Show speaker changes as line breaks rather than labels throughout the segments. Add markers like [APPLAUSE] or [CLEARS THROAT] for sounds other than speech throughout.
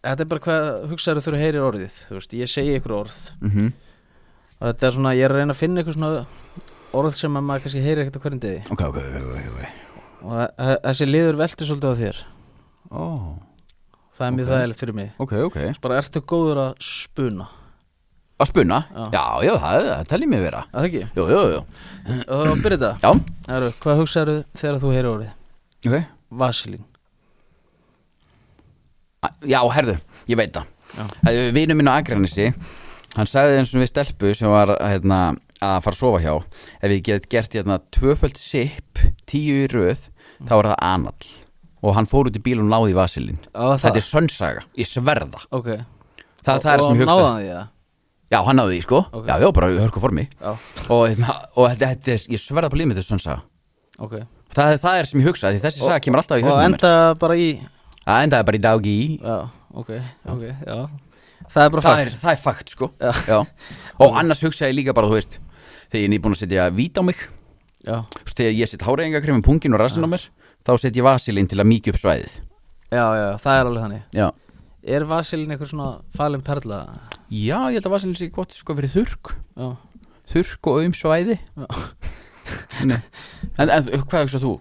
þetta er bara hvað hugsaður þú heyrir orðið þú veist, ég segi ykkur orð
mm -hmm.
og þetta er svona, ég er að reyna að finna ykkur svona orð sem að maður kannski heyrir ekkert á hverjum degi
Ok, ok, ok, ok, ok
og þa- þa- þessi liður velti svolítið á þér
Ó,
það er mjög
Ok.
þægilegt fyrir mig
Oh, Ok, ok
bara ertu góður að spuna
Að spuna?
Já.
Já, já, það, það telji mig vera
að það ekki,
Jú, jú, jú
og byrja þetta
Já,
Æru, hvað hugsaður þegar þú heyrir orðið
ok
vasilín,
A- Já, herðu, ég veit það
Já.
Það er Vinur minn á Akranesi Hann sagði eins og við stelpu sem var hérna, að fara að sofa hjá Ef ég get gert hérna, tvöföld sipp Tíu í röð Þá var það anall Og hann fór út í bíl og náði í vasilinn
á það,
Þetta er sönnsaga, ég sverða
ok
Það,
og,
það er
og
sem ég hugsa
náðan því það,
Já, hann náði því, sko
Ok.
Já, já, bara hörku formi
já,
Og, hérna, og þetta, þetta er, ég sverða på lífið þetta er sönnsaga
ok
það, það er sem ég hugsa, því þessi saga kemur alltaf í
og
hausnum
enda bara í,
Það endaði bara í dag í
já, ok ok, já, það er bara
það er,
fakt
það er fakt sko
Já.
Og annars hugsa ég líka bara, þú veist Þegar ég er nýbúin að setja vít á mig
já,
þú veist, Þegar ég set háræðingakrefum pungin og rassin á mér Þá set ég vasilinn til að mýkja upp svæðið
já, já, það er alveg þannig
Já,
er vasilín einhver svona falin perla
Já ég held að vasilinn sé gott sko fyrir þurrk
já,
Þurrk og um svæði
Já.
[LAUGHS] Nei. en, en hvað hugsa þú?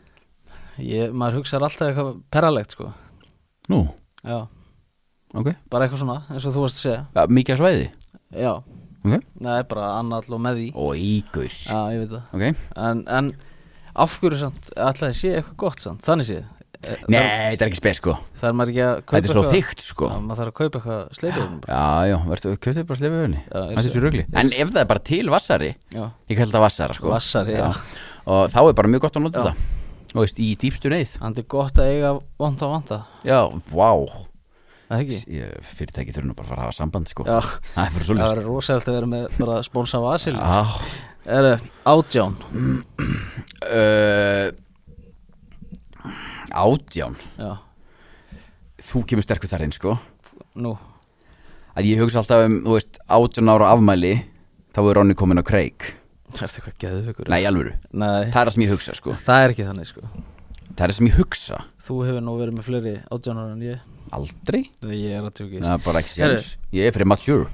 ég, maður hugsaður alltaf eitthvað perralegt sko,
Nú,
já
ok
bara eitthvað svona, eins og þú varst að segja
Að Mýkja svæði?
já,
Ok.
það er bara annall og með því
Ó, ígur
já, ég veit það
Ok
en, en af hverju samt, ætlaði sé eitthvað gott samt, þannig sé
Nei, þetta er ekki spes sko
það er maður ekki að kaupa
Þetta er svo
eitthvað-
þykkt sko
Já, maður þarf að kaupa eitthvað sleipið
Já, já, verður, kjöfðu bara slefið höfni
Já, er
Það er
þessi-
þessu rugli En ef það er bara til vassari
Já,
Ég kall þetta vassara sko
vassari, já
Og þá er bara mjög gott að nota
Já.
þetta Og veist, í dýpstu neyð
Þannig er gott að eiga vond að vanda
Já, vá
Það er ekki?
Ég- Fyrirtæki þurfum bara að fara að hafa samband sko
Já,
Það er bara
það
svolítið
verður rosalegt að vera með bara spónsa vasil
Já
Er átján
uh, Átján
Já,
Þú kemur sterkur þar inn sko
nú
Að ég hugsa alltaf um, þú veist, átján ára afmæli Þá er Ronni komin á kreik
Það er eitthvað geðvökur
Nei, í alvöru
Nei,
Það er það sem ég hugsa sko
það er ekki þannig sko
Það er það sem ég hugsa
Þú hefur nú verið með fleiri átjánar en ég
Aldrei
Nei, Ég er að tjóki
Það er bara ekki
Heyrðu.
séns Ég er fyrir mature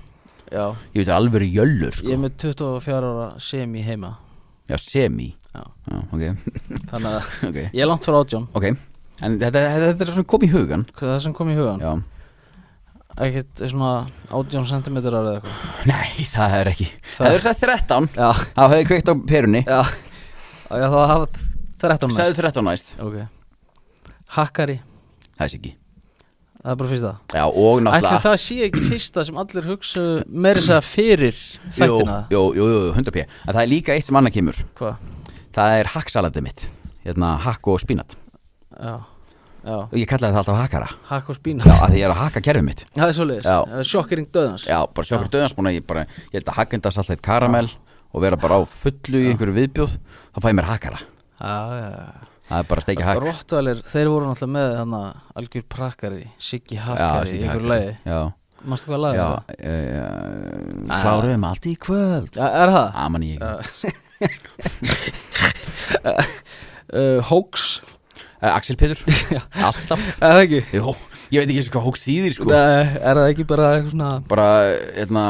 Já,
Ég veit alvöru jöllur
ég
sko
er með 24 ára sem í heima
Já, semi
Já.
Já, ok, [LAUGHS]
Þannig að
ok
ég er langt frá átján
Ok, en þetta, þetta, þetta er svona kom í hugan
Hvað er það sem kom í hugan?
Já
Ekkert eh, svona átján sentimetrar eða eitthvað
Nei, það er ekki
Það-
Það er sett 13
Já,
Þá hefði kveikt á perunni
já Já, þá hafa 13 mest
Sæðu 13 næst
Ok Hakkari,
Það er sér ekki
það er bara fyrsta
Já, og
Ætli
náttúrulega
það sé ekki fyrsta sem allir hugsa meiri þess að fyrir
jú,
þættina
jú, jú, jú, 100p En það er líka eitt sem annað kemur
Hvað?
Það er hacksalatið mitt Hérna, hakk og spínat
Já, já,
Og ég kallaði það alltaf hakkara
hakk og spínat
Já, að því ég er að hakka kerfið mitt
Það er svoleiðis,
Já.
Eh, sjokkering döðans
Já, bara sjokkar döðans Búin að ég bara Ég held að hakkendast alltaf eitt karamell Og vera bara á fullu í einhverju viðbjóð Þá fæ ég mér hakkara
já, já
Það er bara að steikja hakk
Rottvalir, þeir voru náttúrulega með hann algjör prakkari, Siggi Hakkari í
steikja
einhverju
hakkari.
lagi
Já
Manstu hvað lagi?
Já, e,
Ah.
kláruðum allt í kvöld
Já, er það?
Aman ég
Já. Uh, hoax
Eh, Axel
[LAUGHS]
Pétur Alltaf
Er það ekki?
Jó, ég veit ekki eins og hvað hókst þýðir sko
Nei, er það ekki bara eitthvað svona eh,
Bara, hérna,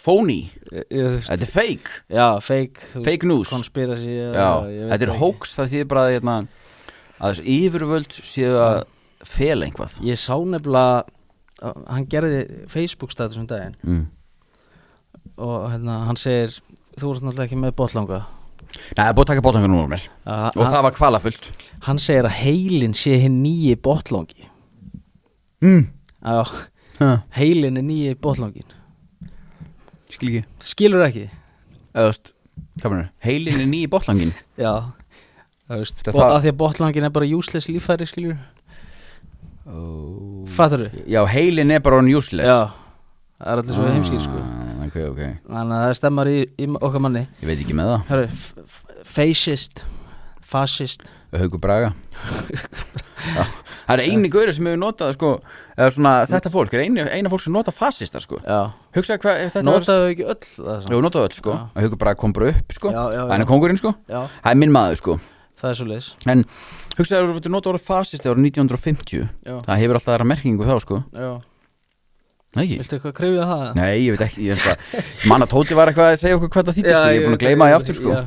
phony
ég, ég, þú veist-
Þetta er fake
Já, fake þú veist,
Fake news.
Conspiracy eða- ég
Já,
veit
þetta er
ekki.
hókst það þýðir bara hérna, að þessu yfirvöld séu að fela einhvað
Ég sá nefnilega uh, hann gerði Facebook status um daginn
mm.
og hérna, hann segir þú ert náttúrulega ekki með botlanga
Nei, það er búið að taka bótangar núna úr mér
Uh,
Og
hann,
það var kvalafullt
hann segir að heilin sé hinn nýji botlangi
mm.
Já, heilin er nýji botlangin
Skil ekki
Skilur ekki?
Eða, þú veist, hvað mennur, heilin er nýi bótlangin
Já Það veist,
Það
bot,
það-
að því að botlangin er bara useless líffæri skilur
oh.
Fattar þú?
Já, heilin er bara on useless
Já, það er allir svo heimskir sko
Ah, Ok, ok,
Þannig að það stemmar í, í okkar manni
ég veit ekki með það
Hörru, f- f- fascist Fascist
Hauku Braga Já, Það er eini gaurið sem hefur notað sko, eða svona, þetta fólk er eini, eina fólk sem nota fascista sko.
Já,
Hugsaðu hvað ef þetta
notaðu ekki öll það
var Jú,
samt?
notaðu öll sko.
Já.
Hauku Braga kom bara upp sko.
Já, já, já.
Hann er kongurinn sko.
Já,
Það er minn maður sko.
það er svo leis
En hugsaðu að þú notað orðið fascista árið 1950
Já,
Það hefur alltaf aðra merkingu þá sko.
já,
Nei, ég-
Viltu eitthvað krifja það?
nei, ég veit ekki ég held að- Man að Tóti var eitthvað að segja okkur hvað það þýtti sko. Ég er búin að gleyma því aftur sko.
já.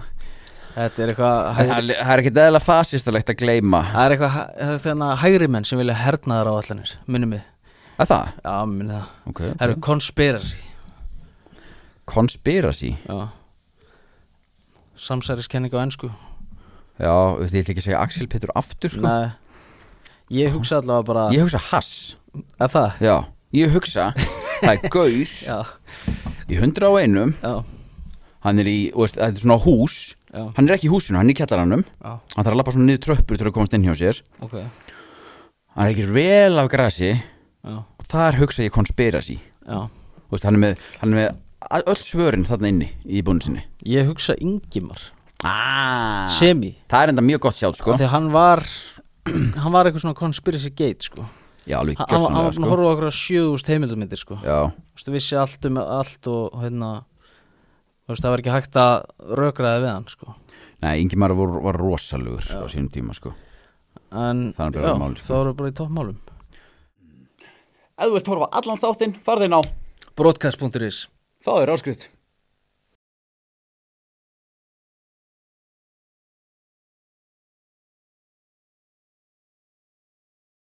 Þetta er eitthvað
En
hægri,
Það er- það er ekkert eðla fasistalegt að gleyma
Það er eitthvað hæ- það er þarna hægri menn sem vilja hernaðar á allanir Minnum við
Að það?
Já, minnum það
Okay.
Það eru konspirasi
Conspiracy
Já Samsæriskenning á ennsku
Já, þið ætla ekki að segja Axel Petur aftur sko.
Nei Ég hugsa allavega bara
Ég hugsa hass
Er það?
Já, ég hugsa Það er gaur
[LAUGHS] Já,
í hundra á einum
já,
Hann er í, þú veist, þetta er svona hús
já,
Hann er ekki í húsinu, hann er í kjallaranum
já,
Hann þarf að lappa svona niður tröppur til að komast inn hjá sér
ok
Hann er ekki vel af grasi
Já,
Og þar hugsa ég conspiracy
já
Þú veist, hann er með, hann er með a- öll svörin þarna inni í búinu sinni
Ég hugsa Ingimar
ah,
Semi
Það er enda mjög gott sjátt sko
Af Því að hann var [CLEARS THROAT] Hann var eitthvað svona conspiracy gate sko
Já, alveg
Hann- Hann hann
gjössanlega
var búin að
sko
horfa okkur á 7000 heimildarmyndir sko
Já,
Þú veist, vissi allt um allt og hérna Þú veist, það var ekki hægt að rökraða við hann sko
nei, Ingimar var, var rosalugur á sínum tíma sko
En,
Það er bara
já,
málið, sko.
það voru bara í toppmálum
Ef þú vilt horfa allan þáttinn, farðin á
Broadcast.is
Fáður áskrift